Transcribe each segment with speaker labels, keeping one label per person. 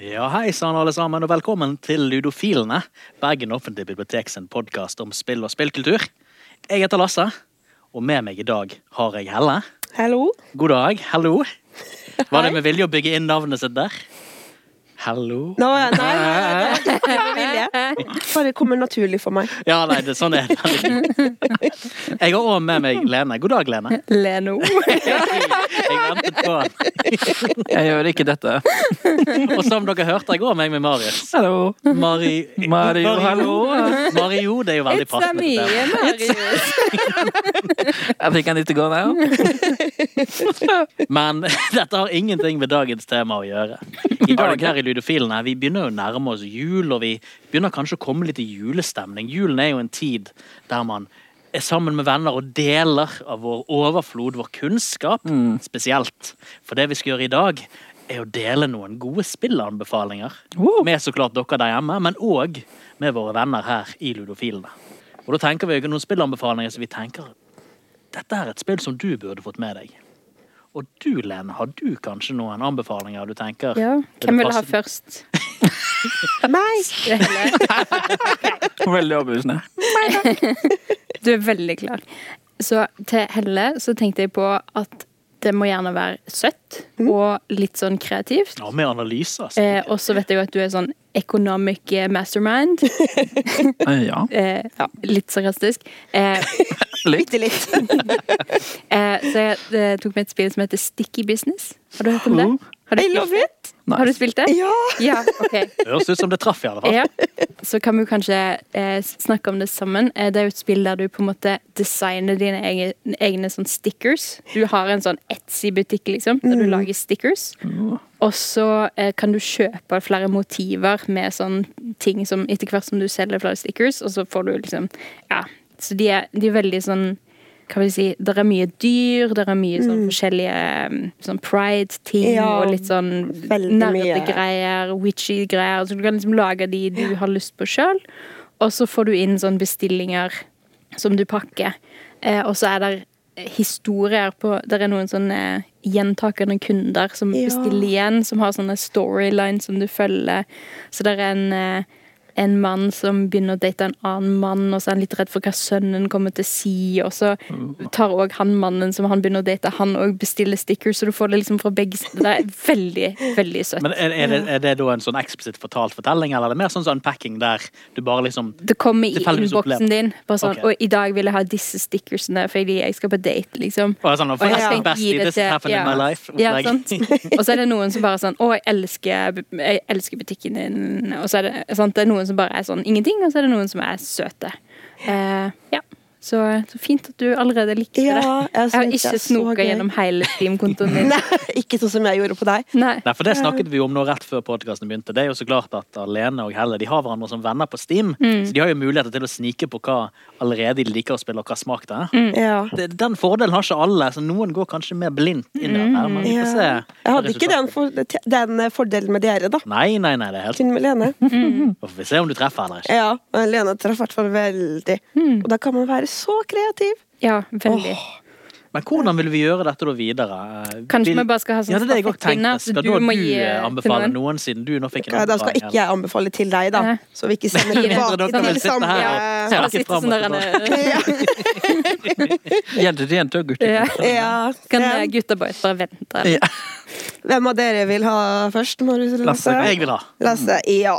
Speaker 1: Ja, Hei sann, alle sammen, og velkommen til Ludofilene. Bergen offentlige bibliotek sin podkast om spill og spillkultur. Jeg heter Lasse, og med meg i dag har jeg Helle.
Speaker 2: Hallo.
Speaker 1: God dag. Hallo. Var det med vilje å bygge inn navnet sitt der? Hallo.
Speaker 2: Nå, nei, nei, nei, nei, det var vilje. Bare kommer naturlig for meg.
Speaker 1: Ja, nei, det, sånn er det. Jeg har òg med meg Lene. God dag, Lene.
Speaker 3: Leno.
Speaker 1: Jeg ventet på den.
Speaker 4: Jeg gjør ikke dette.
Speaker 1: Og som dere hørte, jeg går meg med Marius.
Speaker 4: Hallo.
Speaker 1: Mari...
Speaker 4: Mario, hallo.
Speaker 1: Mario, det er jo veldig
Speaker 3: It's a
Speaker 1: passende.
Speaker 3: me,
Speaker 1: til det.
Speaker 3: Marius.
Speaker 4: I think I need to go now.
Speaker 1: Men dette har ingenting med dagens tema å gjøre. I dag her i Ludofilene, vi begynner jo å nærme oss jul, og vi begynner kanskje å komme litt i julestemning. Julen er jo en tid der man er sammen med venner og deler av vår overflod, vår kunnskap, spesielt. For det vi skal gjøre i dag, er å dele noen gode spillanbefalinger.
Speaker 4: Woo.
Speaker 1: Med så klart dere der hjemme, men òg med våre venner her i Ludofilene. Og da tenker vi jo ikke noen spillanbefalinger som vi tenker dette er et spill som du burde fått med deg. Og du, Lene, har du kanskje noen anbefalinger du tenker?
Speaker 3: Ja. Hvem vil ha først?
Speaker 2: Meg!
Speaker 4: Veldig overbevisende.
Speaker 3: Du er veldig klar. Så til Helle så tenkte jeg på at det må gjerne være søtt
Speaker 2: Mhm.
Speaker 3: og litt sånn kreativt.
Speaker 1: Ja, med analyse, altså.
Speaker 3: Eh, og så vet jeg jo at du er sånn economic eh, mastermind.
Speaker 4: Eh, Ja.
Speaker 3: Eh, ja, litt sarkastisk. Eh,
Speaker 4: Litt.
Speaker 2: Bitte litt.
Speaker 3: eh, så jeg eh, tok med et spill som heter Sticky Business. Har du hørt om det? Har du,
Speaker 2: I love it!
Speaker 3: har du spilt det?
Speaker 2: Ja!
Speaker 3: Ja, ok.
Speaker 1: Høres ut som det traff, i alle fall.
Speaker 3: Ja. Så kan vi jo kanskje eh, snakke om det sammen. Eh, det er jo et spill der du på en måte designer dine egne, egne sånn stickers. Du har en sånn Etsy-butikk, liksom, der du
Speaker 2: Mm.
Speaker 3: lager stickers. Og så eh, kan du kjøpe flere motiver med sånn ting som etter hvert som du selger flere stickers, og så får du liksom Ja. Så de er, de er veldig sånn hva vil jeg si, Det er mye dyr, det er mye sånn forskjellige mm, sånn pride-ting
Speaker 2: Ja,
Speaker 3: og litt sånn
Speaker 2: veldig mye.
Speaker 3: nerdegreier greier, witchy greier. Så du kan liksom lage de du har lyst på sjøl. Og så får du inn sånne bestillinger som du pakker. Eh, og så er det historier på Det er noen sånne gjentakende kunder som
Speaker 2: Ja.
Speaker 3: bestiller igjen, som har sånne storylines som du følger. Så det er en eh, en mann som begynner å date en annen mann, og så er han litt redd for hva sønnen kommer til å si. Og så tar òg han mannen som han begynner å date, han òg bestiller stickers, så du får det liksom fra begge sider. Det er veldig, veldig søtt.
Speaker 1: Men er, er, det, er det da en sånn eksplisitt fortalt fortelling, eller er det mer sånn unpacking der du bare liksom
Speaker 3: Det kommer i
Speaker 1: Tilfeldigvis
Speaker 3: innboksen
Speaker 1: opplevd.
Speaker 3: din. Bare sånn,
Speaker 1: Ok.
Speaker 3: Og i dag vil jeg ha disse stickersene fordi jeg skal på date, liksom.
Speaker 1: og er sånn,
Speaker 3: Og jeg
Speaker 1: forresten,
Speaker 3: skal
Speaker 1: best
Speaker 3: gi
Speaker 1: i
Speaker 3: det
Speaker 1: this
Speaker 3: til-
Speaker 1: happened
Speaker 3: ja.
Speaker 1: in my life.
Speaker 3: Ja,
Speaker 1: opplegg.
Speaker 3: sant? Og så er det noen som bare sånn Å, jeg elsker, jeg elsker butikken din. Og så er det, sant? det er noen som bare er sånn ingenting, og så er det noen som er søte. Eh, ja. Så, så fint at du allerede likte
Speaker 2: Ja,
Speaker 3: det.
Speaker 2: jeg
Speaker 3: Jeg har
Speaker 2: synes det er
Speaker 3: ikke
Speaker 2: så
Speaker 3: snoka
Speaker 2: gøy.
Speaker 3: gjennom hele Steam-kontoen din.
Speaker 2: Nei, ikke sånn som jeg gjorde på deg.
Speaker 3: Nei.
Speaker 1: Nei, for Det snakket vi jo om nå rett før podkasten begynte. Det er jo så klart at Lene og Helle de har hverandre som venner på Steam,
Speaker 3: Mm.
Speaker 1: så de har jo muligheter til å snike på hva allerede de liker å spille, og hva smak det er.
Speaker 3: Mm.
Speaker 2: Ja.
Speaker 1: Det- Den fordelen har ikke alle, så noen går kanskje mer blindt inn i det her. Men vi får se.
Speaker 2: Ja. Jeg hadde ikke
Speaker 1: resultatet.
Speaker 2: den, for, den eh, fordelen med dere, da.
Speaker 1: Nei, nei, nei, det er helt
Speaker 2: Kun med Lene.
Speaker 1: Og får vi se om du treffer eller ikke.
Speaker 2: Ja, men Lene traff i hvert fall veldig. Og da kan man være så kreativ.
Speaker 3: Ja, veldig.
Speaker 1: Men hvordan vil vi gjøre dette da videre? Eh,
Speaker 3: Kanskje
Speaker 1: vil...
Speaker 3: vi bare skal ha sånn
Speaker 1: ja, det er det jeg også tenkte.
Speaker 3: stafettpinne, at
Speaker 1: Skal
Speaker 3: du
Speaker 1: da du,
Speaker 3: må gi,
Speaker 1: eh,
Speaker 3: eh, til
Speaker 1: anbefale
Speaker 3: noen?
Speaker 1: noen siden du nå fikk en
Speaker 2: Da skal ikke
Speaker 1: anbefaling?
Speaker 2: jeg anbefale til deg, da.
Speaker 3: Nei.
Speaker 2: Så vi ikke sender
Speaker 3: Gi det
Speaker 1: Mindre
Speaker 2: tilbake
Speaker 1: dere vil
Speaker 2: til
Speaker 1: sitte
Speaker 2: samme
Speaker 1: her og
Speaker 3: Ja,
Speaker 1: snakke
Speaker 3: sitte
Speaker 1: fram
Speaker 3: sånn
Speaker 1: og
Speaker 3: der
Speaker 1: tilbake.
Speaker 3: en-
Speaker 2: Ja,
Speaker 4: Jenter til jenter og gutter til
Speaker 3: Ja.
Speaker 4: gutter.
Speaker 2: ja.
Speaker 3: Kan
Speaker 2: Hvem-
Speaker 3: eh, gutta boys bare vente?
Speaker 4: Ja.
Speaker 2: Hvem av dere vil ha først? Marius eller
Speaker 4: Lasse.
Speaker 2: Lasse?
Speaker 1: Jeg vil ha.
Speaker 2: Lasse, ja.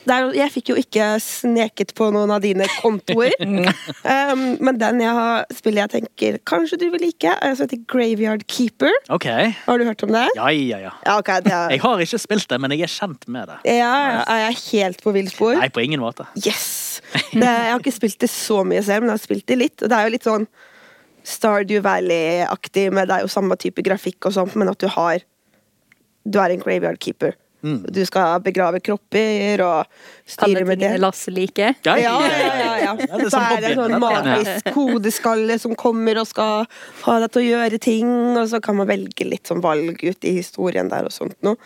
Speaker 2: Det er jo- jeg fikk jo ikke sneket på noen av dine kontoer. um, men den jeg har, spillet jeg tenker kanskje du vil like, er som heter Graveyard Keeper.
Speaker 1: OK.
Speaker 2: Har du hørt om det?
Speaker 1: Ja, ja, ja.
Speaker 2: Ja, ok. Det er,
Speaker 1: Jeg har ikke spilt det, men jeg er kjent med det.
Speaker 2: ja, ja, er jeg helt på villspor?
Speaker 1: Nei, på ingen måte.
Speaker 2: Yes! Det, jeg har ikke spilt det så mye selv, men jeg har spilt det litt. Og det er jo litt sånn Stardew Valley-aktig, men det er jo samme type grafikk og sånt, men at du har Du er en graveyard keeper. Du skal begrave kropper og styre
Speaker 3: Alle
Speaker 2: med det.
Speaker 3: tingene Lasse liker.
Speaker 1: Ja,
Speaker 2: Ja, ja, ja, ja.
Speaker 1: Det er
Speaker 2: Så er det en sånn
Speaker 1: sånn hobby.
Speaker 2: magisk kodeskalle som kommer og skal ha deg til å gjøre ting, og så kan man velge litt sånn valg ut i historien der og sånt noe.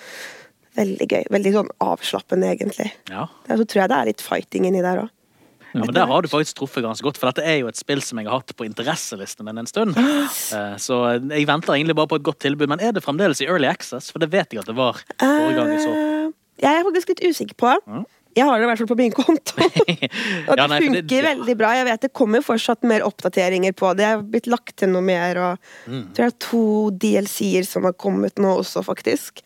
Speaker 2: Veldig gøy. Veldig sånn avslappende, egentlig.
Speaker 1: Ja.
Speaker 2: Ja, Så tror jeg det er litt fighting inni der òg.
Speaker 1: Ja, men Der har du faktisk truffet ganske godt, for dette er jo et spill som jeg har hatt på interesselisten min en stund. Eh, Så jeg venter egentlig bare på et godt tilbud. Men er det fremdeles i Early Access? For det vet jeg at det var forrige gang jeg så. Mm.
Speaker 2: Eh, jeg er faktisk litt usikker på. Jeg har det i hvert fall på min konto. Og
Speaker 1: Ja,
Speaker 2: det
Speaker 1: nei, for
Speaker 2: funker
Speaker 1: det-
Speaker 2: veldig bra. Jeg vet Det kommer fortsatt mer oppdateringer på det. Jeg har blitt lagt til noe mer. Og
Speaker 1: Mm.
Speaker 2: jeg tror det er to DLC-er som har kommet nå også, faktisk.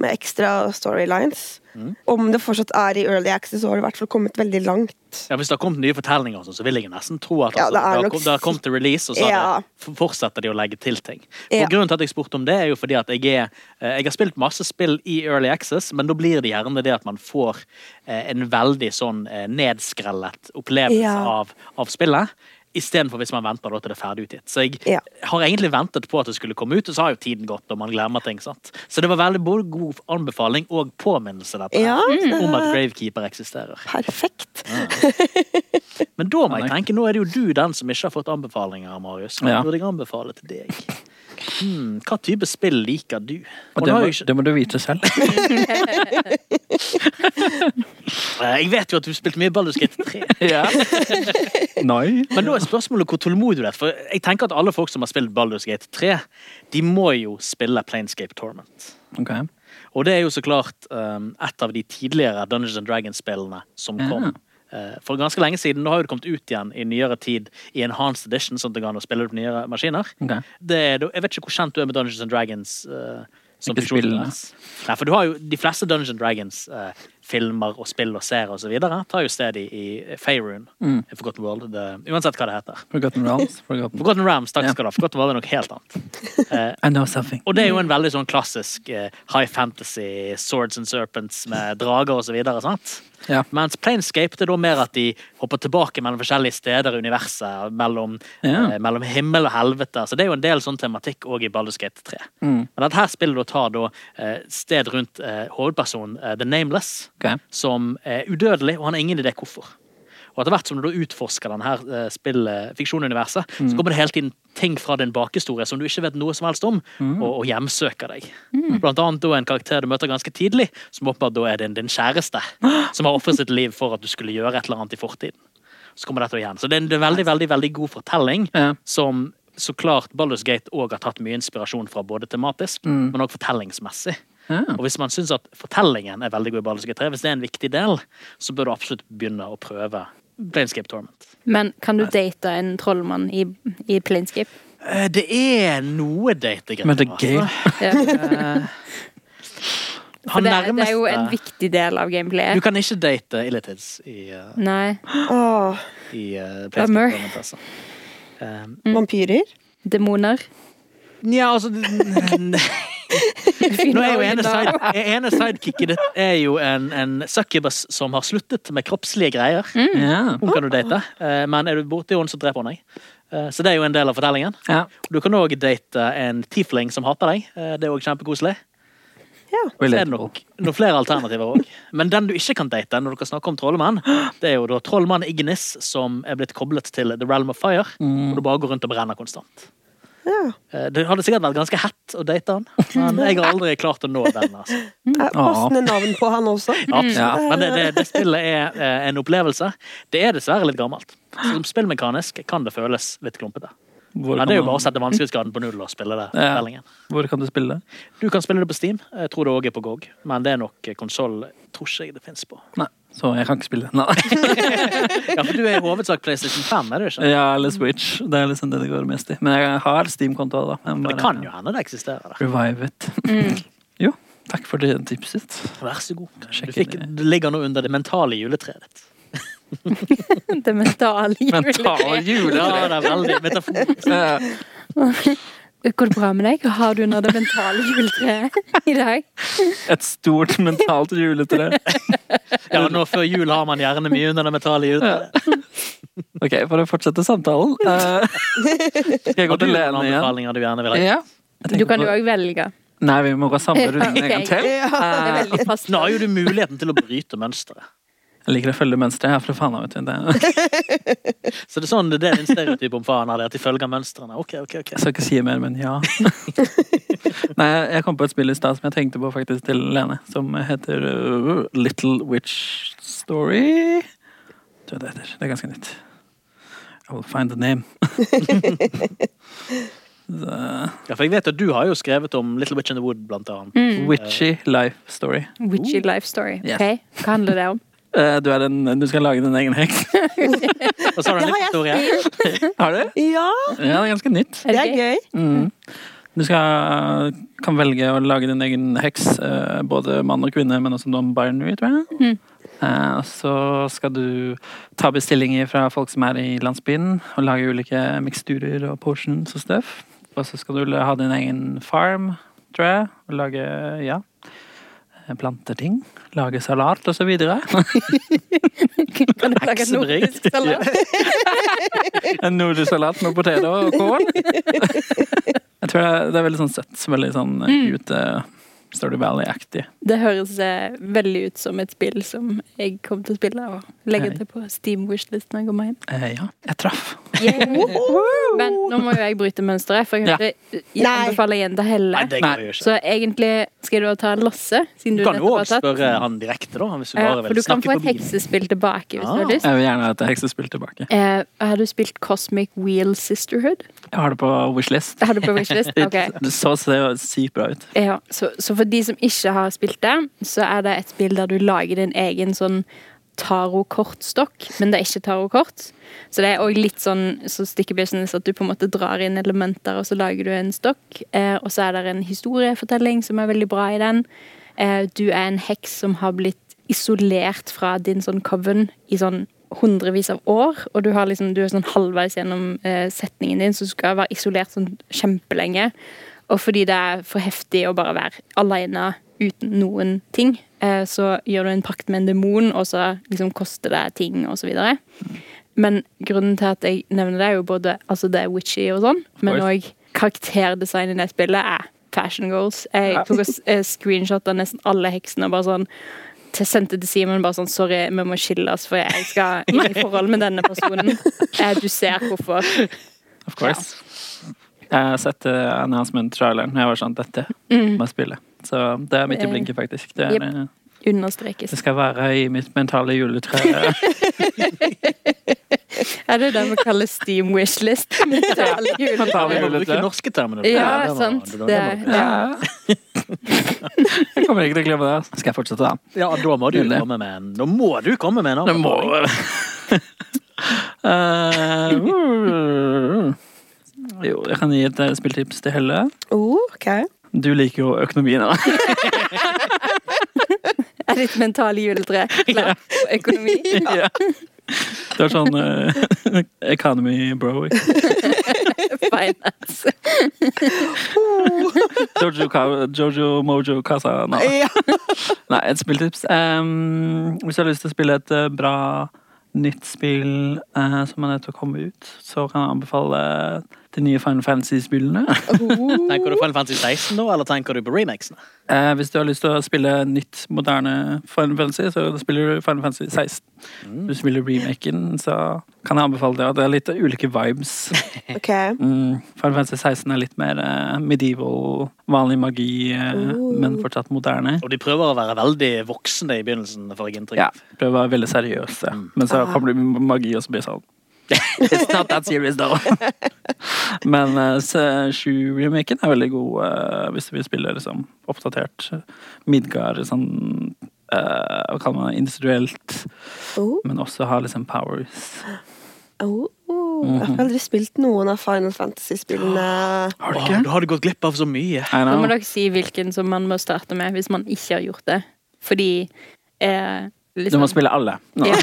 Speaker 2: Med ekstra storylines.
Speaker 1: Mm.
Speaker 2: Om det fortsatt er i early access, så har det i hvert fall kommet veldig langt.
Speaker 1: Ja, Hvis det har kommet nye fortellinger, og sånn, så vil jeg nesten tro at
Speaker 2: Ja,
Speaker 1: altså,
Speaker 2: det
Speaker 1: det,
Speaker 2: er
Speaker 1: har
Speaker 2: nok
Speaker 1: kom, det har kommet til release, og så
Speaker 2: Ja.
Speaker 1: har det- f- fortsetter de å legge til ting.
Speaker 2: Ja.
Speaker 1: Og Grunnen til at jeg spurte om det, er jo fordi at jeg, er, eh, jeg har spilt masse spill i Early Access, men da blir det gjerne det at man får eh, en veldig sånn eh, nedskrellet opplevelse
Speaker 2: Ja.
Speaker 1: av, av spillet. Istedenfor hvis man venter da til det er ferdig utgitt. Så jeg
Speaker 2: Ja.
Speaker 1: har egentlig ventet på at det skulle komme ut, og så har jo tiden gått, og man glemmer ting. sant? Så det var veldig både god anbefaling og påminnelse dette her,
Speaker 2: Ja,
Speaker 1: om at Gravekeeper eksisterer.
Speaker 2: Perfekt.
Speaker 1: Men da må
Speaker 4: Ja,
Speaker 1: jeg
Speaker 4: nei.
Speaker 1: tenke, nå er det jo du den som ikke har fått anbefalinger, Marius. Hva
Speaker 4: Ja.
Speaker 1: burde jeg anbefale til deg? Hmm, hva type spill liker du? Og nå
Speaker 4: Og det, må,
Speaker 1: har jeg, ikke,
Speaker 4: det må du vite selv.
Speaker 1: Eh, jeg vet jo at du spilte mye Baldur's Gate 3.
Speaker 4: ja. Nei.
Speaker 1: Men nå er spørsmålet hvor tålmodig du er. For jeg tenker at alle folk som har spilt Baldur's Gate 3, de må jo spille Planescape Torment.
Speaker 4: Ok.
Speaker 1: Og det er jo så klart um, et av de tidligere Dungeons and Dragons-spillene som
Speaker 4: Ja.
Speaker 1: kom. eh, For ganske lenge siden. Nå har jo det kommet ut igjen i nyere tid i Enhanced Edition. sånn at det går an å spille det på nyere maskiner.
Speaker 4: Ok.
Speaker 1: Det er, da- jeg vet ikke hvor kjent du er med Dungeons and Dragons. eh, som
Speaker 4: Ikke spillene.
Speaker 1: funksjonsdress. Nei, for du har jo De fleste Dungeons and Dragons-filmer og spill og serier og så videre tar jo sted i, i Faerun.
Speaker 4: Mm.
Speaker 1: eh, Forgotten World. Det, uansett hva det heter.
Speaker 4: Forgotten Realms. Forgotten.
Speaker 1: Forgotten Rams, takk
Speaker 4: Ja.
Speaker 1: skal du ha. Forgotten World er noe helt annet.
Speaker 4: I know something.
Speaker 1: Og det er jo en veldig sånn klassisk eh, high fantasy, swords and serpents med drager og så videre, sant?
Speaker 4: Ja.
Speaker 1: Mens Planescape det er da mer at de hopper tilbake mellom forskjellige steder i universet, mellom,
Speaker 4: Ja.
Speaker 1: eh, mellom himmel og helvete. Så det er jo en del sånn tematikk òg i Baldur's Gate 3. Men
Speaker 4: Mm.
Speaker 1: dette her spillet da tar da eh, sted rundt eh, hovedpersonen eh, The Nameless,
Speaker 4: Ok.
Speaker 1: som er udødelig, og han har ingen idé hvorfor. Og etter hvert som du da utforsker denne her eh, spill- eh, fiksjonuniverset, så kommer det hele tiden ting fra din bakhistorie som du ikke vet noe som helst om, og, og hjemsøker deg. Blant annet da en karakter du møter ganske tidlig, som åpenbart da er din, din kjæreste, som har ofret sitt liv for at du skulle gjøre et eller annet i fortiden. Så kommer dette igjen. Så det er en det er en veldig, veldig, veldig god fortelling
Speaker 4: Ja.
Speaker 1: som så klart Baldur's Gate òg har tatt mye inspirasjon fra, både tematisk, men òg fortellingsmessig.
Speaker 4: Ja.
Speaker 1: Og hvis man syns at fortellingen er veldig god i Baldur's Gate 3, hvis det er en viktig del, så bør du absolutt begynne å prøve Planescape Torment.
Speaker 3: Men kan du date en trollmann i, i Planescape?
Speaker 1: Eh, Det er noe dategreier.
Speaker 4: Men det er gøy.
Speaker 3: Ja. For det, er- det er jo en viktig del av
Speaker 1: Du
Speaker 3: gameplayet.
Speaker 1: kan ikke date Illitids i, eh,
Speaker 3: Nei.
Speaker 2: Åh,
Speaker 1: i eh, Planescape
Speaker 3: Bummer.
Speaker 1: Torment, altså. Um,
Speaker 2: Mm. vampyrer?
Speaker 3: Demoner.
Speaker 1: Nja, altså n- Nå er jo ene, side, ene sidekicket ditt er jo en, en succubus som har sluttet med kroppslige greier.
Speaker 4: Mm. Ja.
Speaker 1: Hun kan du date, eh, men er du borti henne, så dreper hun deg. Eh, Så det er jo en del av fortellingen.
Speaker 4: ja.
Speaker 1: Du kan òg date en tiefling som hater deg. Eh, Det er òg kjempekoselig. Så
Speaker 2: Ja.
Speaker 1: er det
Speaker 4: Relatable.
Speaker 1: nok noen flere alternativer òg. Men den du ikke kan date, når dere snakker om trollmann, det er jo da trollmann Ignis som er blitt koblet til The Realm of Fire, og du bare går rundt og brenner konstant.
Speaker 2: ja.
Speaker 1: Eh, Det hadde sikkert vært ganske hett å date han, men jeg har aldri klart å nå den. altså.
Speaker 2: Eh, Passende navn på han også.
Speaker 1: Absolutt.
Speaker 4: Ja.
Speaker 1: Men det, det, det spillet er eh, en opplevelse. Det er dessverre litt gammelt. Som spillmekanisk kan det føles litt klumpete.
Speaker 4: Hvor
Speaker 1: Ja,
Speaker 4: kan
Speaker 1: det er jo
Speaker 4: man-
Speaker 1: bare å sette vanskelighetsgraden på null og spille det.
Speaker 4: Ja.
Speaker 1: spillingen.
Speaker 4: Hvor kan du spille det?
Speaker 1: Du kan spille det på Steam. Jeg tror det òg er på GOG, men det er nok konsoll tror ikke jeg det fins på.
Speaker 4: Nei, så jeg kan ikke spille. Nei.
Speaker 1: Ja, for du er i hovedsak PlayStation 5, er du ikke?
Speaker 4: Ja, eller Switch. Det er liksom det det går mest i. Men jeg har Steam-konto, da. Jeg må
Speaker 1: Men Eh, det
Speaker 4: bare
Speaker 1: kan Mm. jo hende det eksisterer der.
Speaker 4: Revive it. Jo, takk for det tipset.
Speaker 1: Vær så god.
Speaker 4: sjekke
Speaker 1: Du fikk,
Speaker 4: det.
Speaker 1: det ligger nå under det mentale juletreet ditt.
Speaker 3: Det mentale
Speaker 4: Mental
Speaker 3: juletreet.
Speaker 4: jule.
Speaker 1: Ja, det er veldig metafor.
Speaker 4: Ja.
Speaker 3: Går det bra med deg? Har du under det mentale juletreet i dag?
Speaker 4: Et stort mentalt juletre.
Speaker 1: Ja, nå før jul har man gjerne mye under det mentale juletreet.
Speaker 4: Ok, for å fortsette samtalen eh, Skal jeg gå
Speaker 1: Har du
Speaker 4: til
Speaker 1: noen
Speaker 4: Lene igjen?
Speaker 1: anbefalinger du gjerne vil ha?
Speaker 4: Ja. Jeg tenker
Speaker 3: Du kan jo
Speaker 4: på-
Speaker 3: òg velge.
Speaker 4: Nei, vi må gå samme runden en gang
Speaker 3: Ok.
Speaker 4: til.
Speaker 3: Det er
Speaker 4: Eh,
Speaker 3: veldig fast.
Speaker 1: Nå har jo du muligheten til å bryte mønsteret.
Speaker 4: Jeg liker å følge mønsteret her, for faen vet du. Det.
Speaker 1: Så det er sånn det er din stereotyp om faen her, det er at de følger mønstrene. Ok, ok, ok.
Speaker 4: Jeg skal ikke si mer, men ja. Nei, jeg kom på et spill i stad som jeg tenkte på faktisk til Lene, som heter øh, Little Witch uh, Story. Døde etter. Det er ganske nytt. I will find the name. Så,
Speaker 1: Ja, for jeg vet at du har jo skrevet om Little Witch in the Wood, blant annet.
Speaker 3: Mm.
Speaker 4: witchy life story.
Speaker 3: Witchy life story.
Speaker 4: Yes.
Speaker 3: Ok, Hva handler det om?
Speaker 4: Eh, Du, er en, du skal lage din egen heks.
Speaker 1: Og så har du en
Speaker 2: Det har jeg
Speaker 1: historie.
Speaker 4: Har du?
Speaker 2: Ja,
Speaker 4: Ja, det er ganske nytt.
Speaker 2: det er gøy.
Speaker 4: Mm. Du skal, kan velge å lage din egen heks, eh, både mann og kvinne, men også non-binary, tror jeg. Eh, Så skal du ta bestillinger fra folk som er i landsbyen, og lage ulike miksturer og potions og stuff. Og så skal du la- ha din egen farm, tror jeg, og lage ja, planter ting, lage salat og så videre.
Speaker 3: Kan du lage et
Speaker 1: Heksebrygg.
Speaker 3: nordisk salat?
Speaker 4: En nordisk salat med poteter og kål. Jeg tror det er, det er veldig sånn søtt. Veldig sånn mm. ute Story Valley-aktig.
Speaker 3: Det høres eh, veldig ut som et spill som jeg kommer til å spille og legge
Speaker 4: Hei.
Speaker 3: til på Steam Wish-list når jeg kommer hjem.
Speaker 4: Eh, ja, jeg traff.
Speaker 3: Oh. Men nå må jo jeg bryte mønsteret, for jeg
Speaker 4: Ja.
Speaker 3: kan ikke
Speaker 2: Nei.
Speaker 3: anbefale jenta Helle.
Speaker 1: Nei, det
Speaker 4: Nei.
Speaker 1: går jo ikke.
Speaker 3: Så egentlig skal du ta Lasse, siden
Speaker 1: Du
Speaker 3: du,
Speaker 1: kan jo
Speaker 3: nettopp
Speaker 1: òg
Speaker 3: har tatt.
Speaker 1: spørre han direkte, da. Hvis du
Speaker 3: Ja,
Speaker 1: bare
Speaker 3: for du
Speaker 1: vil
Speaker 3: kan
Speaker 1: snakke
Speaker 3: få et
Speaker 1: forbi.
Speaker 3: heksespill tilbake hvis
Speaker 1: Ah.
Speaker 3: du har lyst.
Speaker 4: Jeg vil gjerne ha et heksespill tilbake.
Speaker 3: Eh, har du spilt Cosmic Wheel Sisterhood?
Speaker 4: Jeg har det på wishlist.
Speaker 3: Har du på wishlist? Ok.
Speaker 4: Det så ser sykt bra ut.
Speaker 3: Ja, så, så for de som ikke har spilt det, så er det et spill der du lager din egen sånn tarotkortstokk, men det er ikke tarotkort. Så det er òg litt sånn så sticky business at du på en måte drar inn elementer, og så lager du en stokk. Eh, og så er det en historiefortelling som er veldig bra i den. Eh, du er en heks som har blitt isolert fra din sånn coven i sånn hundrevis av år, og du, har liksom, du er sånn halvveis gjennom eh, setningen din, så du skal være isolert sånn kjempelenge. Og fordi det er for heftig å bare være alene uten noen ting, eh, så gjør du en pakt med en demon, og så liksom koster det ting, og så videre. Men grunnen til at jeg nevner det, er jo både altså det er witchy og sånn, men
Speaker 4: course.
Speaker 3: òg karakterdesign i det spillet er fashion goals. Jeg tok og s- eh, screenshot av nesten alle heksene og bare sånn til, sendte til Simon bare sånn Sorry, vi må skilles, for jeg skal inn i forhold med denne personen. Eh, Du ser hvorfor.
Speaker 4: Of course. Jeg har sett eh, announcement-traileren. Jeg var sånn Dette må jeg spille. Så det er midt i blinken, faktisk. Det, er,
Speaker 3: Mm. Eh, Jep.
Speaker 4: eh,
Speaker 3: Understrekes.
Speaker 4: det skal være i mitt mentale juletre.
Speaker 3: Er det det vi kaller Steam wishlist? Mental jul.
Speaker 1: Ja, vi må
Speaker 4: Juletre.
Speaker 1: bruke norske termer.
Speaker 3: Ja, sant.
Speaker 1: Da,
Speaker 3: Det,
Speaker 1: da,
Speaker 3: ja.
Speaker 4: Jeg kommer ikke til å glemme det. altså. Skal jeg fortsette, da?
Speaker 1: ja, da må du
Speaker 4: Juletre.
Speaker 1: komme med en Da må du komme med en
Speaker 4: Det må
Speaker 1: anbefaling.
Speaker 4: Eh, Jo, jeg kan gi et eh, spilltips til Helle.
Speaker 2: Oh, ok.
Speaker 4: Du liker jo økonomien, da.
Speaker 3: Er ditt mentale juletre klart på økonomi?
Speaker 4: Ja. Du er sånn eh, economy bro. ikke sant?
Speaker 3: Finance.
Speaker 4: Jojo, Ka- Jojo Mojo Casa Nava.
Speaker 2: Ja.
Speaker 4: Nei, et spilltips. Em, hvis du har lyst til å spille et eh, bra nytt spill eh, som er nødt til å komme ut, så kan jeg anbefale de nye Final Fantasy-spillene.
Speaker 1: Tenker du på Final Fantasy 16 da, eller tenker du på remakesene?
Speaker 4: Eh, hvis du har lyst til å spille nytt, moderne Final Fantasy, så spiller du Final Fantasy 16. Hvis du spiller remaken, så kan jeg anbefale det. og Det er litt ulike vibes.
Speaker 2: ok.
Speaker 4: Mm. Final Fantasy 16 er litt mer eh, medieval, vanlig magi, eh, men fortsatt moderne.
Speaker 1: Og de prøver å være veldig voksne i begynnelsen, får jeg inntrykk
Speaker 4: Ja,
Speaker 1: av.
Speaker 4: prøver å være veldig seriøse, men
Speaker 3: Ah.
Speaker 4: så kommer det magi, og så blir det sånn It's not that serious, though. men eh, så 7-remaken er veldig god eh, hvis du vil spille liksom, oppdatert Midgard. Sånn, eh, hva kaller man det, industrielt,
Speaker 2: Oh,
Speaker 4: men også ha liksom powers.
Speaker 2: oh, oh. Jeg
Speaker 1: Mhm.
Speaker 2: har aldri spilt noen av Final Fantasy-spillene.
Speaker 4: Har du
Speaker 1: Åh,
Speaker 4: ikke?
Speaker 1: da har du gått glipp av så mye.
Speaker 4: I
Speaker 3: Nå
Speaker 4: know.
Speaker 3: må dere si hvilken som man må starte med hvis man ikke har gjort det. Fordi eh,
Speaker 4: Du
Speaker 3: liksom,
Speaker 4: må spille alle. Nå.
Speaker 3: Ja.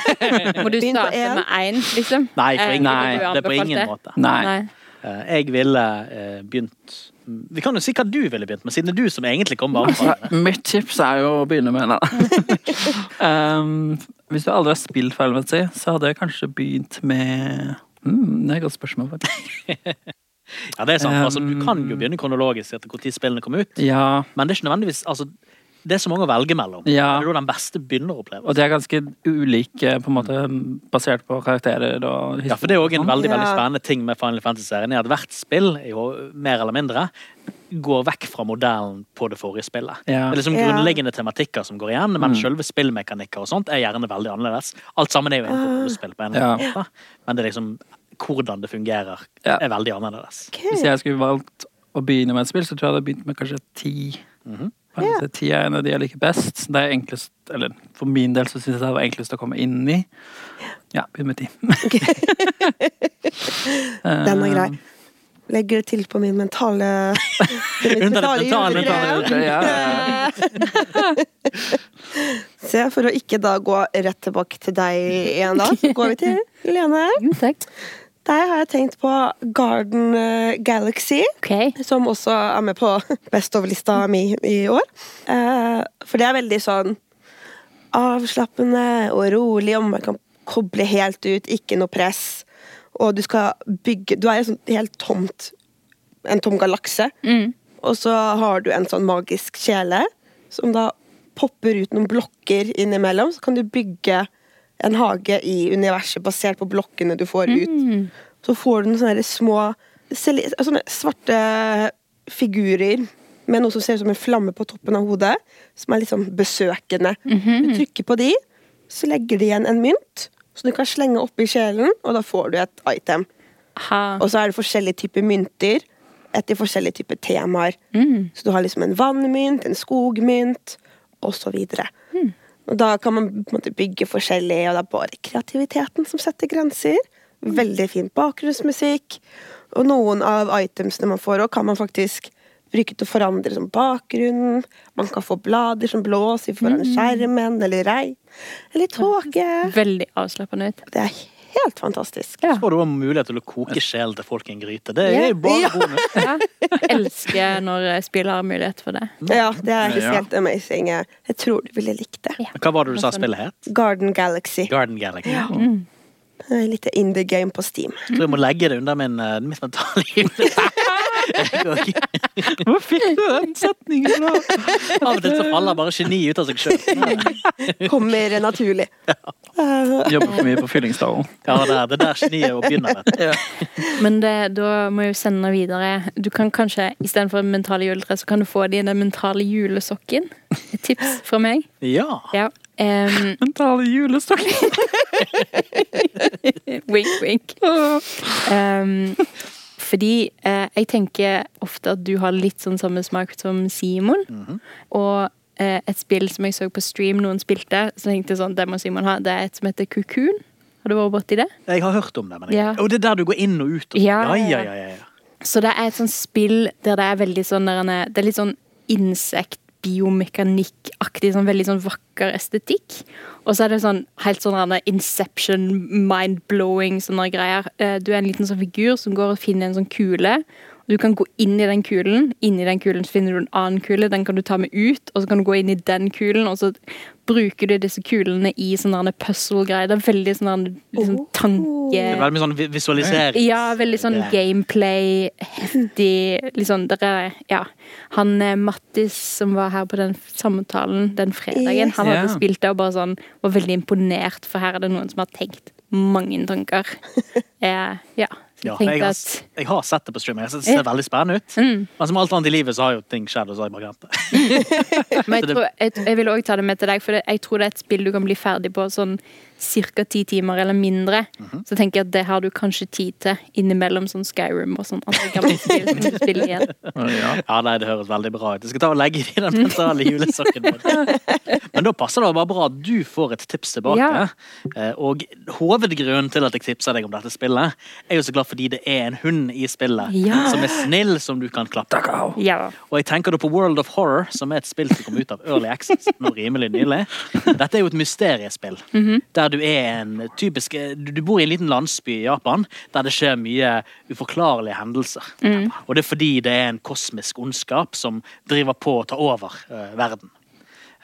Speaker 3: Må du
Speaker 2: Begynn på
Speaker 3: starte
Speaker 2: én.
Speaker 3: med én, liksom?
Speaker 1: Nei, på
Speaker 3: Eh,
Speaker 1: ingen,
Speaker 4: nei,
Speaker 3: ville du
Speaker 1: det er på
Speaker 3: anbefalt
Speaker 1: ingen
Speaker 3: det?
Speaker 1: måte.
Speaker 4: Nei.
Speaker 1: Eh, Jeg ville eh, begynt Vi kan jo si hva du ville begynt med, siden det er du som egentlig kom med
Speaker 4: Altså,
Speaker 1: anbefalingene.
Speaker 4: mitt tips er jo å begynne med en um, Hvis du aldri har spilt Final Fantasy, så hadde jeg kanskje begynt med mm, Det er et godt spørsmål. faktisk.
Speaker 1: Ja, det er sant. Altså, du kan jo begynne kronologisk etter når spillene kom ut,
Speaker 4: Ja,
Speaker 1: men det er ikke nødvendigvis altså, Det er så mange å velge mellom.
Speaker 4: Ja.
Speaker 1: Det er jo den beste begynneropplevelsen.
Speaker 4: og de er ganske ulike, på en måte, basert på karakterer og sånn.
Speaker 1: Ja, for det er òg en veldig
Speaker 2: Ja.
Speaker 1: veldig spennende ting med Final Fantasy-serien, er at hvert spill er jo mer eller mindre går vekk fra modellen på det forrige spillet.
Speaker 4: Ja. Mm.
Speaker 1: Det er liksom
Speaker 2: Ja.
Speaker 1: grunnleggende tematikker som går igjen, men selve spillmekanikker og sånt er gjerne veldig annerledes. Alt sammen er jo en
Speaker 3: Ah.
Speaker 1: rollespill på en eller annen måte, men det er liksom hvordan det fungerer,
Speaker 4: Ja.
Speaker 1: er veldig annerledes.
Speaker 4: Hvis jeg skulle valgt å begynne med et spill, så tror jeg jeg hadde begynt med kanskje ti. Mhm. Kanskje Ti er en av de jeg liker best. Det er enklest, eller For min del så syns jeg det var enklest å komme inn i. Ja, begynn med ti.
Speaker 2: Den
Speaker 1: eh,
Speaker 2: er
Speaker 4: Eh,
Speaker 2: grei. Legger det til på min mentale mitt
Speaker 1: Under det mentale,
Speaker 2: juletre.
Speaker 1: mentale.
Speaker 4: Ja,
Speaker 2: Se, for å ikke da gå rett tilbake til deg igjen, da, så går vi til Lene.
Speaker 3: Jo, takk.
Speaker 2: Der har jeg tenkt på Garden eh, Galaxy.
Speaker 3: Ok.
Speaker 2: Som også er med på best over-lista mi i år. Eh, for det er veldig sånn avslappende og rolig, og man kan koble helt ut, ikke noe press. Og du skal bygge Du er i et sånt helt tomt En tom galakse.
Speaker 3: Mm.
Speaker 2: Og så har du en sånn magisk kjele som da popper ut noen blokker innimellom. Så kan du bygge en hage i universet basert på blokkene du får ut. Så får du noen sånne her små sel- sånne svarte figurer med noe som ser ut som en flamme på toppen av hodet, som er liksom besøkende. Du trykker på de, så legger de igjen en mynt, som du kan slenge oppi kjelen, og da får du et item.
Speaker 3: Ha.
Speaker 2: Og så er det forskjellige typer mynter etter forskjellige typer temaer. Så du har liksom en vannmynt, en skogmynt, og så videre. Og da kan man på en måte bygge forskjellig, og det er bare kreativiteten som setter grenser. Veldig fin bakgrunnsmusikk. Og noen av itemsene man får òg, kan man faktisk bruke til å forandre som bakgrunn. Man kan få blader som blåser foran skjermen, eller regn, eller tåke.
Speaker 3: Veldig avslappende ut.
Speaker 2: Det er helt fantastisk.
Speaker 3: Ja.
Speaker 1: Så får du også mulighet til å koke sjelen til folk i en gryte. Det
Speaker 3: Ja.
Speaker 1: er jo bare bonus.
Speaker 3: Ja. Elsker når eh, spill har mulighet for det.
Speaker 2: Ja, det er
Speaker 4: Ja.
Speaker 2: helt amazing. Jeg tror du ville likt det.
Speaker 1: Men Hva var det du sa spillet het?
Speaker 2: Garden Galaxy. Eh,
Speaker 1: Garden Galaxy.
Speaker 4: Mm.
Speaker 2: Et lite indie game på Steam.
Speaker 1: Jeg tror jeg må legge det under min, eh, mitt mentale liv.
Speaker 4: Hvor fikk du den setningen fra?
Speaker 1: Av og til så faller bare geni ut av seg sjøl.
Speaker 2: Kommer naturlig. Uh,
Speaker 4: Jobber for mye på Fyllingsdalen.
Speaker 1: Ja, det er det er der geniet begynner. Vet. du.
Speaker 3: Men det, da må jeg jo sende den videre. Du kan kanskje, Istedenfor mentale juletre, så kan du få det i den mentale julesokken. Et tips fra meg.
Speaker 1: Ja.
Speaker 3: Ja. Em,
Speaker 4: Mentale julestokker.
Speaker 3: wink, wink. Em, fordi eh, jeg tenker ofte at du har litt sånn samme smak som Simon. Og eh, et spill som jeg så på stream noen spilte, så tenkte jeg sånn, det må Simon ha. Det er et som heter Kukun. Har du vært borti det?
Speaker 1: Jeg har hørt om det. men jeg...
Speaker 3: Ja.
Speaker 1: Og det er der du går inn og ut? Og...
Speaker 3: Ja, ja,
Speaker 1: ja,
Speaker 3: ja.
Speaker 1: ja, ja, ja.
Speaker 3: Så det er et sånt spill der det er veldig sånn der en er- Det er litt sånn insekt biomekanikkaktig, sånn veldig sånn vakker estetikk. Og så er det sånn helt sånn der en er inception, mind-blowing sånne greier. Eh, Du er en liten sånn figur som går og finner en sånn kule. og Du kan gå inn i den kulen, inni den kulen så finner du en annen kule, den kan du ta med ut, og så kan du gå inn i den kulen, og så bruker du disse kulene i sånne der puzzle-greier. Det er veldig sånn der liksom,
Speaker 1: Det
Speaker 3: tanke...
Speaker 1: er veldig mye sånn vi- visualisering.
Speaker 3: Ja, veldig sånn
Speaker 1: Det er-
Speaker 3: gameplay, heftig liksom, dere, ja. Han eh, Mattis som var her på den samtalen den fredagen,
Speaker 2: Yes.
Speaker 3: han hadde
Speaker 4: Ja.
Speaker 3: spilt det og bare sånn, var veldig imponert, for her er det noen som har tenkt mange tanker. Eh, ja, så jeg
Speaker 1: Ja, jeg,
Speaker 3: tenkte
Speaker 1: har,
Speaker 3: at Mm.
Speaker 1: jeg har sett det på stream. Jeg synes Det ser veldig spennende ut. Men som alt annet i livet så har jo ting skjedd, og så har jeg bare glemt det.
Speaker 3: Men
Speaker 1: Så
Speaker 3: jeg,
Speaker 1: det-
Speaker 3: tror, jeg, jeg vil òg ta det med til deg, for det, jeg tror det er et spill du kan bli ferdig på sånn ca. ti timer eller mindre. Så tenker jeg at det har du kanskje tid til innimellom sånn Skyrim og sånn andre gamle spill som du spiller igjen.
Speaker 4: Ja.
Speaker 1: Ja, nei, det høres veldig bra ut. Jeg skal ta og legge det i den mentale julesokken min. Men da passer det bare bra at du får et tips tilbake.
Speaker 3: Ja.
Speaker 1: Eh, Og hovedgrunnen til at jeg tipser deg om dette spillet, er jo så glad fordi det er en hund i spillet
Speaker 3: Ja.
Speaker 1: som er snill, som du kan klappe.
Speaker 3: Ja.
Speaker 1: Og jeg tenker da på World of Horror, som er et spill som kom ut av Early Access nå rimelig nylig. Dette er jo et mysteriespill, der du er en typisk Du du bor i en liten landsby i Japan, der det skjer mye uforklarlige hendelser. Og det er fordi det er en kosmisk ondskap som driver på å ta over eh, verden.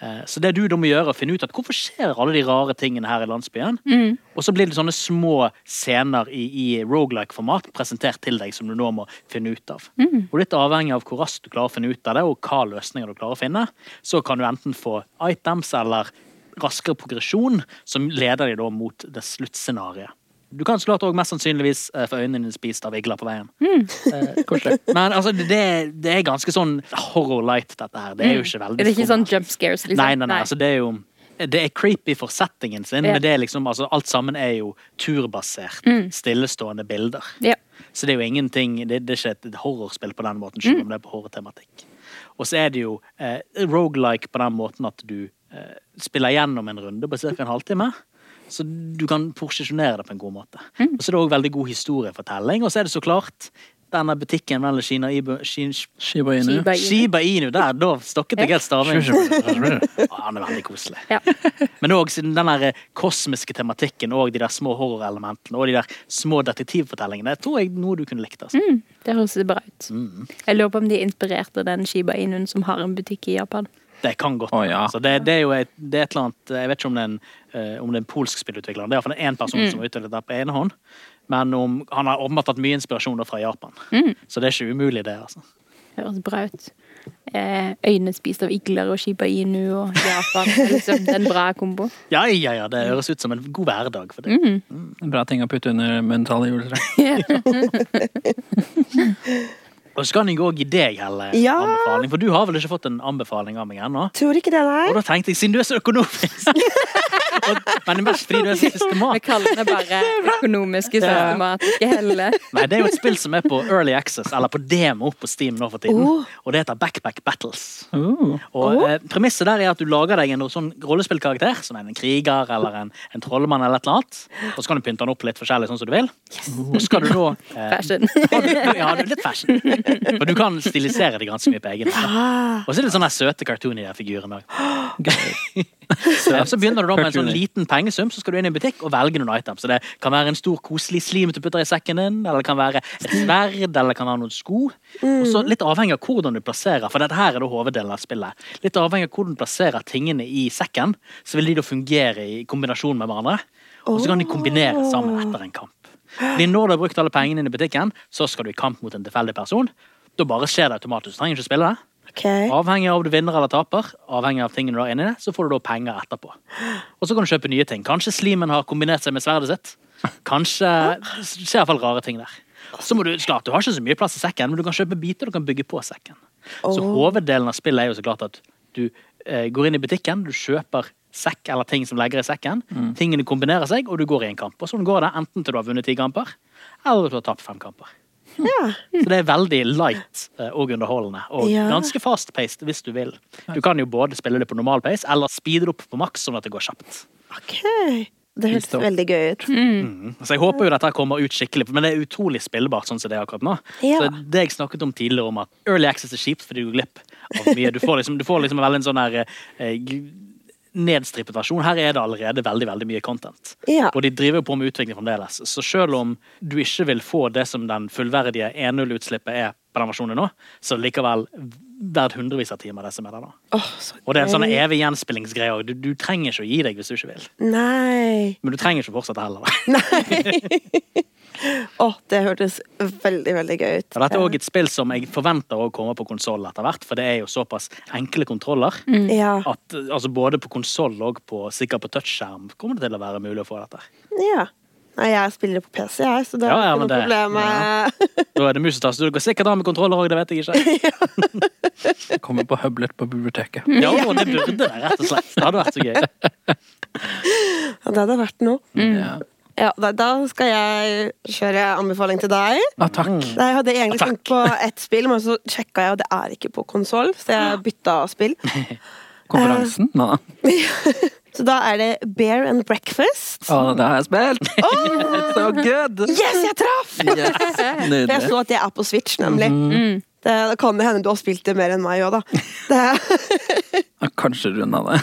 Speaker 1: Eh, Så det du da må gjøre, er å finne ut at hvorfor skjer alle de rare tingene her i landsbyen?
Speaker 3: Mm.
Speaker 1: Og så blir det sånne små scener i, i roguelike-format presentert til deg som du nå må finne ut av.
Speaker 3: Mm.
Speaker 1: Og litt avhengig av hvor raskt du klarer å finne ut av det, og hva løsninger du klarer å finne, så kan du enten få items eller raskere progresjon, som leder deg da mot det sluttscenarioet. Du kan så klart òg mest sannsynligvis eh, få øynene dine spist av igler på veien.
Speaker 3: Mm.
Speaker 4: Eh, Koselig.
Speaker 1: Men altså, det, det er ganske sånn horror light, dette her. Det er jo ikke veldig
Speaker 3: Det er ikke
Speaker 1: skummelt.
Speaker 3: sånn jump scares, liksom.
Speaker 1: Nei, nei, nei. Altså, det er jo det er creepy for settingen sin,
Speaker 3: Ja. Mm.
Speaker 1: men det er liksom, altså, alt sammen er jo turbasert, stillestående bilder.
Speaker 3: Ja.
Speaker 1: Så det er jo ingenting Det, det er ikke et horrorspill på den måten,
Speaker 3: Mm.
Speaker 1: selv om det er på horrortematikk. Og så er det jo eh, roguelike på den måten at du eh, spiller gjennom en runde på ca. en halvtime. Så du kan porsjonere det på en god måte.
Speaker 3: Mm.
Speaker 1: Og så er det òg veldig god historiefortelling. Og så er det så klart denne butikken mellom Kina Ibu, Shin,
Speaker 4: Shiba Inu.
Speaker 3: Shiba- Inu.
Speaker 1: Shiba Inu der, da stokket jeg helt staving.
Speaker 4: Shiba.
Speaker 1: Ah, Han er veldig koselig.
Speaker 3: Ja.
Speaker 1: Men òg siden den der eh, kosmiske tematikken og de der små horrorelementene og de der små detektivfortellingene, jeg tror jeg noe du kunne likt. Altså.
Speaker 3: Det høres bra ut.
Speaker 1: Mm.
Speaker 3: Jeg lurer på om de er inspirert av den Shiba Inun som har en butikk i Japan.
Speaker 1: Det kan godt
Speaker 4: Å, ja.
Speaker 1: altså. det, det er jo et, det er et eller annet Jeg vet ikke om det er en, eh, om det er en polsk spillutvikler. Det er iallfall én person som har utviklet det på ene hånd. Men om, han har åpenbart hatt mye inspirasjon da fra Japan. Så det er ikke umulig, det. altså.
Speaker 3: Høres bra ut. Eh, øyne spist av igler og Shiba Inu og Japan. Det er Liksom, det er en bra kombo.
Speaker 1: Ja, ja, ja, Det høres ut som en god hverdag for det.
Speaker 4: Bra ting å putte under munntallet i juletreet.
Speaker 1: Og så kan jeg òg gi deg Helle, en
Speaker 2: Ja.
Speaker 1: anbefaling, for du har vel ikke fått en anbefaling av meg ennå?
Speaker 2: Tror ikke det,
Speaker 1: Og
Speaker 2: nei.
Speaker 1: da tenkte jeg, siden du er så økonomisk og, Men det er mest fordi du er så
Speaker 3: Vi
Speaker 1: systemat.
Speaker 3: kaller det bare økonomiske systematiske helle.
Speaker 1: Nei, det er jo et spill som er på early access, eller på demo på Steam nå for tiden.
Speaker 2: Oh.
Speaker 1: Og det heter Backpack Battles.
Speaker 4: Oh.
Speaker 1: Og eh, Premisset der er at du lager deg en sånn rollespillkarakter, som er en kriger eller en, en trollmann, eller et eller annet. Og så kan du pynte den opp litt forskjellig, sånn som du vil. Og så skal du da eh,
Speaker 3: Fashion.
Speaker 1: ha- Ja, du er litt fashion. For du kan stilisere det ganske mye på egen hånd.
Speaker 2: Ah,
Speaker 1: Og så er det sånne søte cartoon i de figurene òg. Så, så begynner du da med en sånn
Speaker 4: Cartoony.
Speaker 1: liten pengesum, så skal du inn i en butikk og velge noen items. Så det kan være en stor, koselig slim du putter i sekken din, eller det kan være et sverd, eller det kan være noen sko. Og så litt avhengig av hvordan du plasserer, for dette her er da hoveddelen av spillet. Litt avhengig av hvordan du plasserer tingene i sekken, så vil de da fungere i kombinasjon med hverandre. Og så kan de kombinere sammen etter en kamp. Fordi når du har brukt alle pengene dine i butikken, så skal du i kamp mot en tilfeldig person. Da bare skjer det automatisk. Du trenger ikke spille det.
Speaker 2: ok.
Speaker 1: Avhengig av om du vinner eller taper, avhengig av tingene du har inni det, så får du da penger etterpå. Og så kan du kjøpe nye ting. Kanskje slimen har kombinert seg med sverdet sitt. Kanskje Det skjer iallfall rare ting der. Så må du, klart, du har ikke så mye plass i sekken, men du kan kjøpe biter du kan bygge på sekken. Så hoveddelen av spillet er jo så klart at du eh, går inn i butikken, du kjøper sekk eller ting som legger i sekken. Tingene kombinerer seg, og du går i en kamp. Og sånn går det enten til du har vunnet ti kamper, eller til du har tapt fem kamper.
Speaker 2: Ja.
Speaker 1: Så det er veldig light eh, og underholdende, og
Speaker 2: Ja.
Speaker 1: ganske fast-paced hvis du vil. Du kan jo både spille det på normal pace, eller speede det opp på maks, sånn at det går kjapt.
Speaker 2: Ok. Det høres
Speaker 4: Visst, da.
Speaker 2: veldig gøy ut.
Speaker 1: Mm. Så jeg håper jo dette her kommer ut skikkelig, men det er utrolig spillbart sånn som det er akkurat nå.
Speaker 2: Ja.
Speaker 1: Så det jeg snakket om tidligere om at early access er kjipt fordi du går glipp av mye. Du får liksom, du får liksom veldig en sånn her eh, gl- nedstrippet versjon. Her er det allerede veldig, veldig mye content.
Speaker 2: Ja.
Speaker 1: Og de driver jo på med utvikling fremdeles. Så selv om du ikke vil få det som den fullverdige 1.0-utslippet er på den versjonen nå, så likevel verdt hundrevis av timer det som er der nå.
Speaker 2: Åh, så
Speaker 1: Og det er en sånn
Speaker 2: gøy.
Speaker 1: evig gjenspillingsgreie òg. Du, du trenger ikke å gi deg hvis du ikke vil.
Speaker 2: Nei.
Speaker 1: Men du trenger ikke å fortsette heller.
Speaker 2: Åh, det hørtes veldig, veldig gøy ut.
Speaker 1: Og dette er òg et spill som jeg forventer å komme på konsoll etter hvert, for det er jo såpass enkle kontroller
Speaker 2: Ja.
Speaker 1: at eh, altså både på konsoll og på, sikkert på touchskjerm kommer det til å være mulig å få dette.
Speaker 2: ja. Nei, jeg spiller på PC, jeg, så det er
Speaker 1: Ja, ja,
Speaker 2: ikke
Speaker 1: men
Speaker 2: noe
Speaker 1: det-
Speaker 2: problem.
Speaker 1: Da er det mus og tastatur. Det går sikkert an med kontroller òg, det vet jeg ikke.
Speaker 4: Kommer på Hublet på biblioteket.
Speaker 1: Ja, og det burde det, rett og slett. Det hadde vært så gøy.
Speaker 2: Ja, det hadde vært noe.
Speaker 1: Mm.
Speaker 4: Ja.
Speaker 2: Ja, da, da skal jeg kjøre anbefaling til deg.
Speaker 4: Ah, takk.
Speaker 1: Mm.
Speaker 2: Nei, Jeg hadde egentlig
Speaker 1: Ja,
Speaker 4: Ah,
Speaker 1: takk.
Speaker 2: tenkt på ett spill, men så sjekka jeg, og det er ikke på konsoll, så
Speaker 4: Ah.
Speaker 2: jeg bytta spill.
Speaker 4: Konferansen? Nå da.
Speaker 2: Så da er det Bear and Breakfast.
Speaker 4: Å, det har jeg spilt! so good!
Speaker 2: Yes, jeg traff!
Speaker 4: Yes.
Speaker 2: For jeg
Speaker 4: Nydelig. Mhm.
Speaker 2: så at det er på Switch, nemlig. Det, da kan det hende du har spilt det mer enn meg òg, da. Det,
Speaker 4: Ah, Kanskje runda det.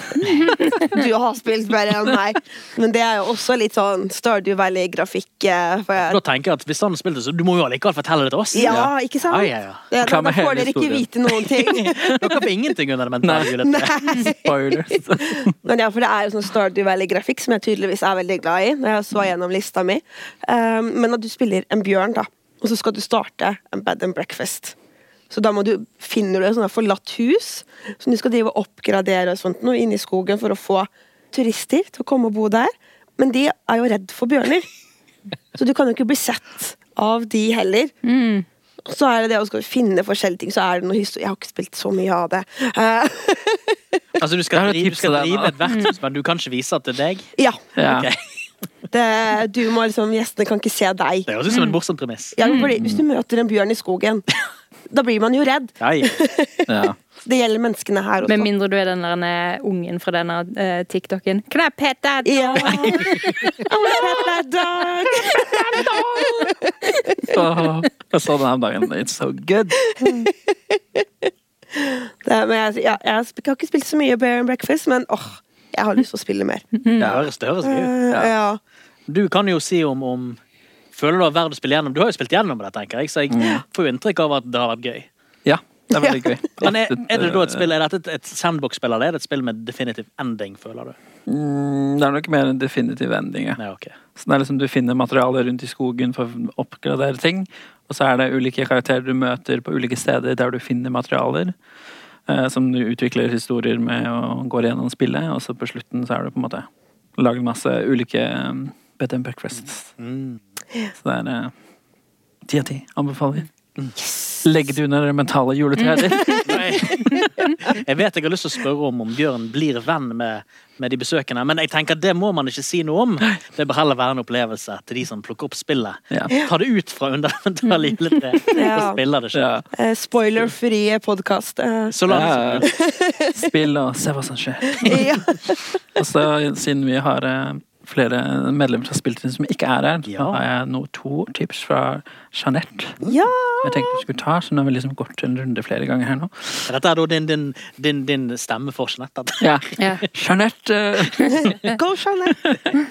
Speaker 2: du har spilt mer enn meg. Men det er jo også litt sånn Stardew Valley-grafikk. eh, for jeg-
Speaker 1: Da tenker jeg at hvis han spilte, så du må jo allikevel fortelle det til oss.
Speaker 2: Ja, ikke sant?
Speaker 1: Ja, ja, ja.
Speaker 2: Det, da,
Speaker 4: Ah, Klar
Speaker 2: da
Speaker 4: med
Speaker 2: får
Speaker 4: hele
Speaker 2: dere ikke
Speaker 4: historien.
Speaker 2: vite noen ting.
Speaker 1: Dere får ingenting under det mentale
Speaker 4: Nei.
Speaker 1: juletreet.
Speaker 2: Nei.
Speaker 4: Spoilers.
Speaker 2: Men ja, for det er jo sånn Stardew Valley-grafikk som jeg tydeligvis er veldig glad i. Når jeg så gjennom lista mi um, Men at du spiller en bjørn, da. Og så skal du starte en bed and breakfast. Så da må du, finner du et sånt her forlatt hus som du skal drive og oppgradere og sånt noe inne i skogen for å få turister til å komme og bo der. Men de er jo redd for bjørner. Så du kan jo ikke bli sett av de heller. Så er det det å skal finne forskjellige ting, så er det noe historie Jeg har ikke spilt så mye av det. Eh,
Speaker 1: Altså, du
Speaker 4: Det er
Speaker 1: skal drive,
Speaker 4: et
Speaker 1: du
Speaker 4: tips
Speaker 1: skal
Speaker 4: til deg,
Speaker 1: drive
Speaker 4: da.
Speaker 1: et vertshus, men du kan ikke vise at det er deg?
Speaker 2: ja.
Speaker 4: Ja.
Speaker 1: Ok.
Speaker 2: Det, du må liksom Gjestene kan ikke se deg.
Speaker 1: Det høres ut som en morsom premiss.
Speaker 2: Ja, men fordi, hvis du møter en bjørn i skogen, da blir man jo redd.
Speaker 1: Ja, ja.
Speaker 4: Ja.
Speaker 2: Det gjelder menneskene her
Speaker 3: Med
Speaker 2: også.
Speaker 3: mindre du er den der eh, ungen fra denne eh, TikToken. Can I pet that?
Speaker 2: Ja. I wanna pet that dog.
Speaker 4: Åh, Jeg så den her om dagen. It's so good.
Speaker 2: Det, men jeg, ja, jeg har sp- har ikke spilt så mye Bear and Breakfast, men åh, jeg har lyst til å spille mer.
Speaker 4: Mm.
Speaker 1: Det høres, det høres gøy ut.
Speaker 2: Eh, ja.
Speaker 1: Du kan jo si om, om Føler du har verdt å spille gjennom? Du har jo spilt gjennom det, tenker jeg, så jeg
Speaker 4: Mm.
Speaker 1: får jo inntrykk av at det har vært gøy.
Speaker 4: Ja, det er veldig gøy.
Speaker 1: Men er, er det da et spill, er dette et, et sandbox-spill, eller er det et spill med definitive ending, føler du?
Speaker 4: Mm, Det er nok mer en definitiv ending. Ja.
Speaker 1: Nei, ok.
Speaker 4: Så det er liksom Du finner materiale rundt i skogen for å oppgradere ting. Og så er det ulike karakterer du møter på ulike steder der du finner materialer. eh, Som du utvikler historier med og går gjennom spillet. Og så på slutten så er du på en måte lager masse ulike eh, bed and breakfasts. Så det er eh, ti av ti. Anbefaler. Legg det under det mentale juletreet ditt.
Speaker 1: Nei. Jeg vet jeg har lyst til å spørre om om Bjørn blir venn med, med de besøkende, men jeg tenker det må man ikke si noe om. Det bør heller være en opplevelse til de som plukker opp spillet.
Speaker 4: Ja.
Speaker 1: Ta det ut fra undermentale juletre og
Speaker 2: Ja.
Speaker 1: spiller det
Speaker 4: Ja.
Speaker 1: selv.
Speaker 2: Eh, Spoilerfrie eh, podkast.
Speaker 1: Så langt.
Speaker 4: Ja. Spill og se hva som skjer.
Speaker 2: ja.
Speaker 4: Og så Altså, siden vi har eh, flere medlemmer fra Spilltrinn som ikke er her, så
Speaker 1: Ja.
Speaker 4: har jeg nå to tips fra Jeanette.
Speaker 2: ja.
Speaker 4: Jeg tenkte vi skulle ta, så nå har vi liksom gått en runde flere ganger her nå.
Speaker 1: Dette er da din, din, din, din stemme for Jeanette.
Speaker 4: Ja.
Speaker 3: Ja.
Speaker 4: Jeanette eh,
Speaker 2: Go, Jeanette!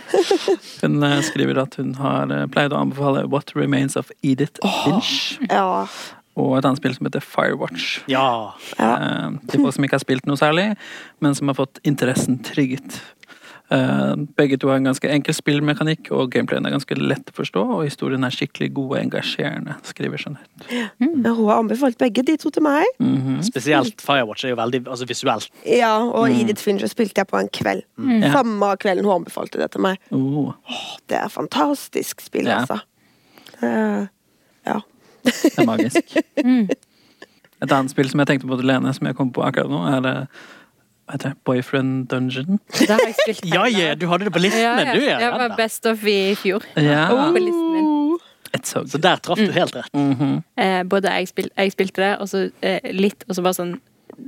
Speaker 4: hun eh, skriver at hun har eh, pleid å anbefale What Remains of Edith Finch
Speaker 2: Ja.
Speaker 4: og et annet spill som heter Firewatch.
Speaker 1: Ja.
Speaker 4: Eh, til folk som ikke har spilt noe særlig, men som har fått interessen trygget. Eh, begge to har en ganske enkel spillmekanikk, og gameplayen er ganske lett å forstå, og historien er skikkelig god og engasjerende, skriver Jeanette.
Speaker 2: Men Hun har anbefalt begge de to til meg.
Speaker 4: Mhm.
Speaker 1: Spesielt Firewatch er jo veldig altså, visuelt.
Speaker 2: Ja, Og Edith Fincher spilte jeg på en kveld.
Speaker 4: Ja.
Speaker 2: Samme kvelden hun anbefalte det til meg.
Speaker 4: Oh,
Speaker 2: Det er fantastisk spill,
Speaker 4: Ja.
Speaker 2: altså. Eh, ja.
Speaker 4: det er magisk. Et annet spill som jeg tenkte på til Lene, som jeg kom på akkurat nå, er eh, hva heter det? Boyfriend Dungeon.
Speaker 3: Det har jeg spilt
Speaker 1: Ja, ja, du hadde det på listen
Speaker 3: Ja,
Speaker 1: din,
Speaker 3: ja.
Speaker 1: du. Ja,
Speaker 3: Jeg var
Speaker 1: Edda.
Speaker 3: best of i fjor.
Speaker 4: Ja,
Speaker 1: Ah.
Speaker 3: På listen min.
Speaker 4: it's so
Speaker 1: Så
Speaker 4: good.
Speaker 1: der traff du helt rett.
Speaker 3: Eh, både jeg, spil jeg spilte det, og så eh, litt, og så bare sånn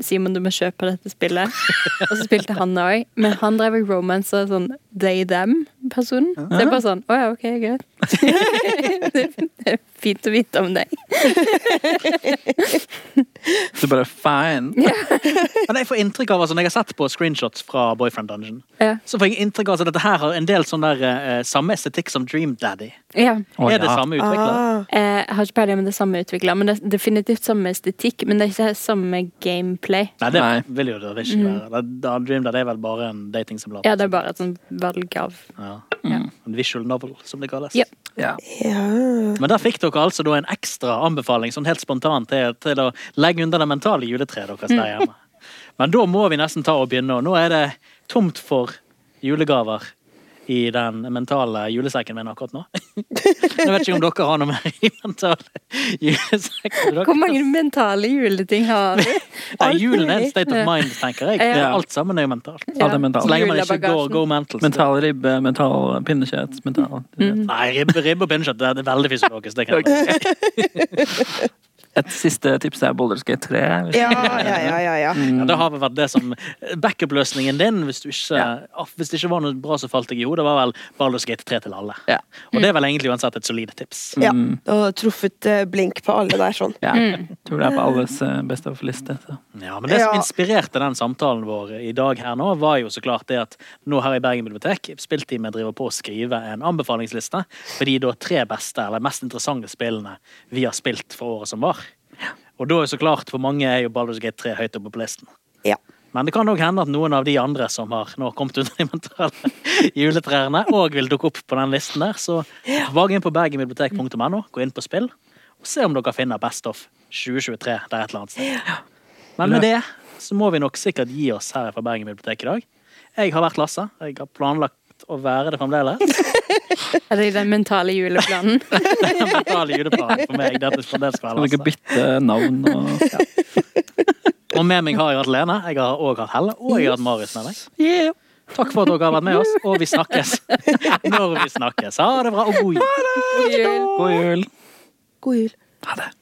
Speaker 3: Simon, du må kjøpe dette spillet. Og så spilte han det òg. Men han drev og romansa sånn they-them-personen. Så jeg bare sånn Å ja, OK, greit. det er fint å vite om deg.
Speaker 4: Så bare fine.
Speaker 1: Men jeg får inntrykk av, altså, Når jeg har sett på screenshots fra Boyfriend Dungeon,
Speaker 3: Ja.
Speaker 1: så får jeg inntrykk av at dette her har en del sånn der eh, samme estetikk som Dream Daddy.
Speaker 3: ja.
Speaker 4: Å,
Speaker 1: er det
Speaker 4: ja.
Speaker 1: samme utvikler?
Speaker 2: Ah.
Speaker 3: Eh, jeg har ikke peiling om det er samme utvikler, men det er definitivt samme estetikk. Men det er ikke samme gameplay.
Speaker 1: Nei, det
Speaker 4: Nei.
Speaker 1: vil jo det ikke være. Da, da, Dream Daddy er vel bare en datingsimulator.
Speaker 3: Mm. Ja, det er bare et sånn valg av
Speaker 1: Ja.
Speaker 4: Mm.
Speaker 3: ja.
Speaker 1: En visual novel, som det kalles.
Speaker 3: Ja.
Speaker 4: Ja.
Speaker 2: ja.
Speaker 1: Men der fikk dere altså da en ekstra anbefaling sånn helt spontant til, til å legge under det mentale juletreet deres der hjemme. Men da må vi nesten ta og begynne. Og nå er det tomt for julegaver i den mentale julesekken min akkurat nå. Jeg vet ikke om dere har noe mer i mentale julesekken.
Speaker 3: Hvor mange mentale juleting har du?
Speaker 1: Nei, julen er en state of mind, tenker jeg.
Speaker 3: Ja.
Speaker 1: Alt sammen er jo mentalt.
Speaker 4: Ja, det er mentalt.
Speaker 1: Så lenge man ikke går
Speaker 3: Julebagasjen.
Speaker 1: go mental. så-
Speaker 4: Mental ribbe, mental pinnekjøtt, mental
Speaker 1: Nei, ribbe, ribbe og pinnekjøtt det er veldig fysiologisk. Det kan jeg.
Speaker 4: Et siste tips er Boulderskate 3. hvis-
Speaker 2: Ja, ja, ja, ja, ja.
Speaker 1: Ja, det har vel vært det som backup-løsningen din. Hvis, du ikke, ah, hvis det ikke var noe bra som falt deg i hodet, var vel Baldur's Gate 3 til alle.
Speaker 4: Ja.
Speaker 1: Og det er vel egentlig uansett et solid tips.
Speaker 2: ja. Og truffet eh, blink på alle der sånn.
Speaker 4: Ja. Tror det er på alles eh, best of-liste. så.
Speaker 1: Ja, men Det som
Speaker 2: Ja.
Speaker 1: inspirerte den samtalen vår i dag, her nå, var jo så klart det at nå her i Bergen bibliotek spillteamet driver på å skrive en anbefalingsliste for de da tre beste eller mest interessante spillene vi har spilt for året som var. Og da er så klart, for mange er jo Baldur's Gate 3 høyt oppe på listen.
Speaker 2: Ja.
Speaker 1: Men det kan òg hende at noen av de andre som har nå kommet under de mentale juletrærne, òg vil dukke opp på den listen der. Så vag inn på bergenbibliotek.no, gå inn på spill, og se om dere finner Best of 2023 der et eller annet sted. Men med det så må vi nok sikkert gi oss her fra Bergen bibliotek i dag. Jeg har vært Lasse. Jeg har planlagt å være det fremdeles.
Speaker 3: Er det den mentale juleplanen?
Speaker 1: Den mentale juleplanen for meg. Dette, for det skal
Speaker 4: Kan
Speaker 1: jeg
Speaker 4: dere
Speaker 1: lese.
Speaker 4: bytte navn og
Speaker 1: Og med meg har jeg hatt Lene, jeg har òg hatt Helle, og jeg har hatt Marius med meg.
Speaker 4: yeah.
Speaker 1: Takk for at dere har vært med oss, og vi snakkes. Når vi snakkes. Ha det bra, og god jul.
Speaker 3: God jul.
Speaker 4: God jul!
Speaker 2: God jul.
Speaker 4: Ha det.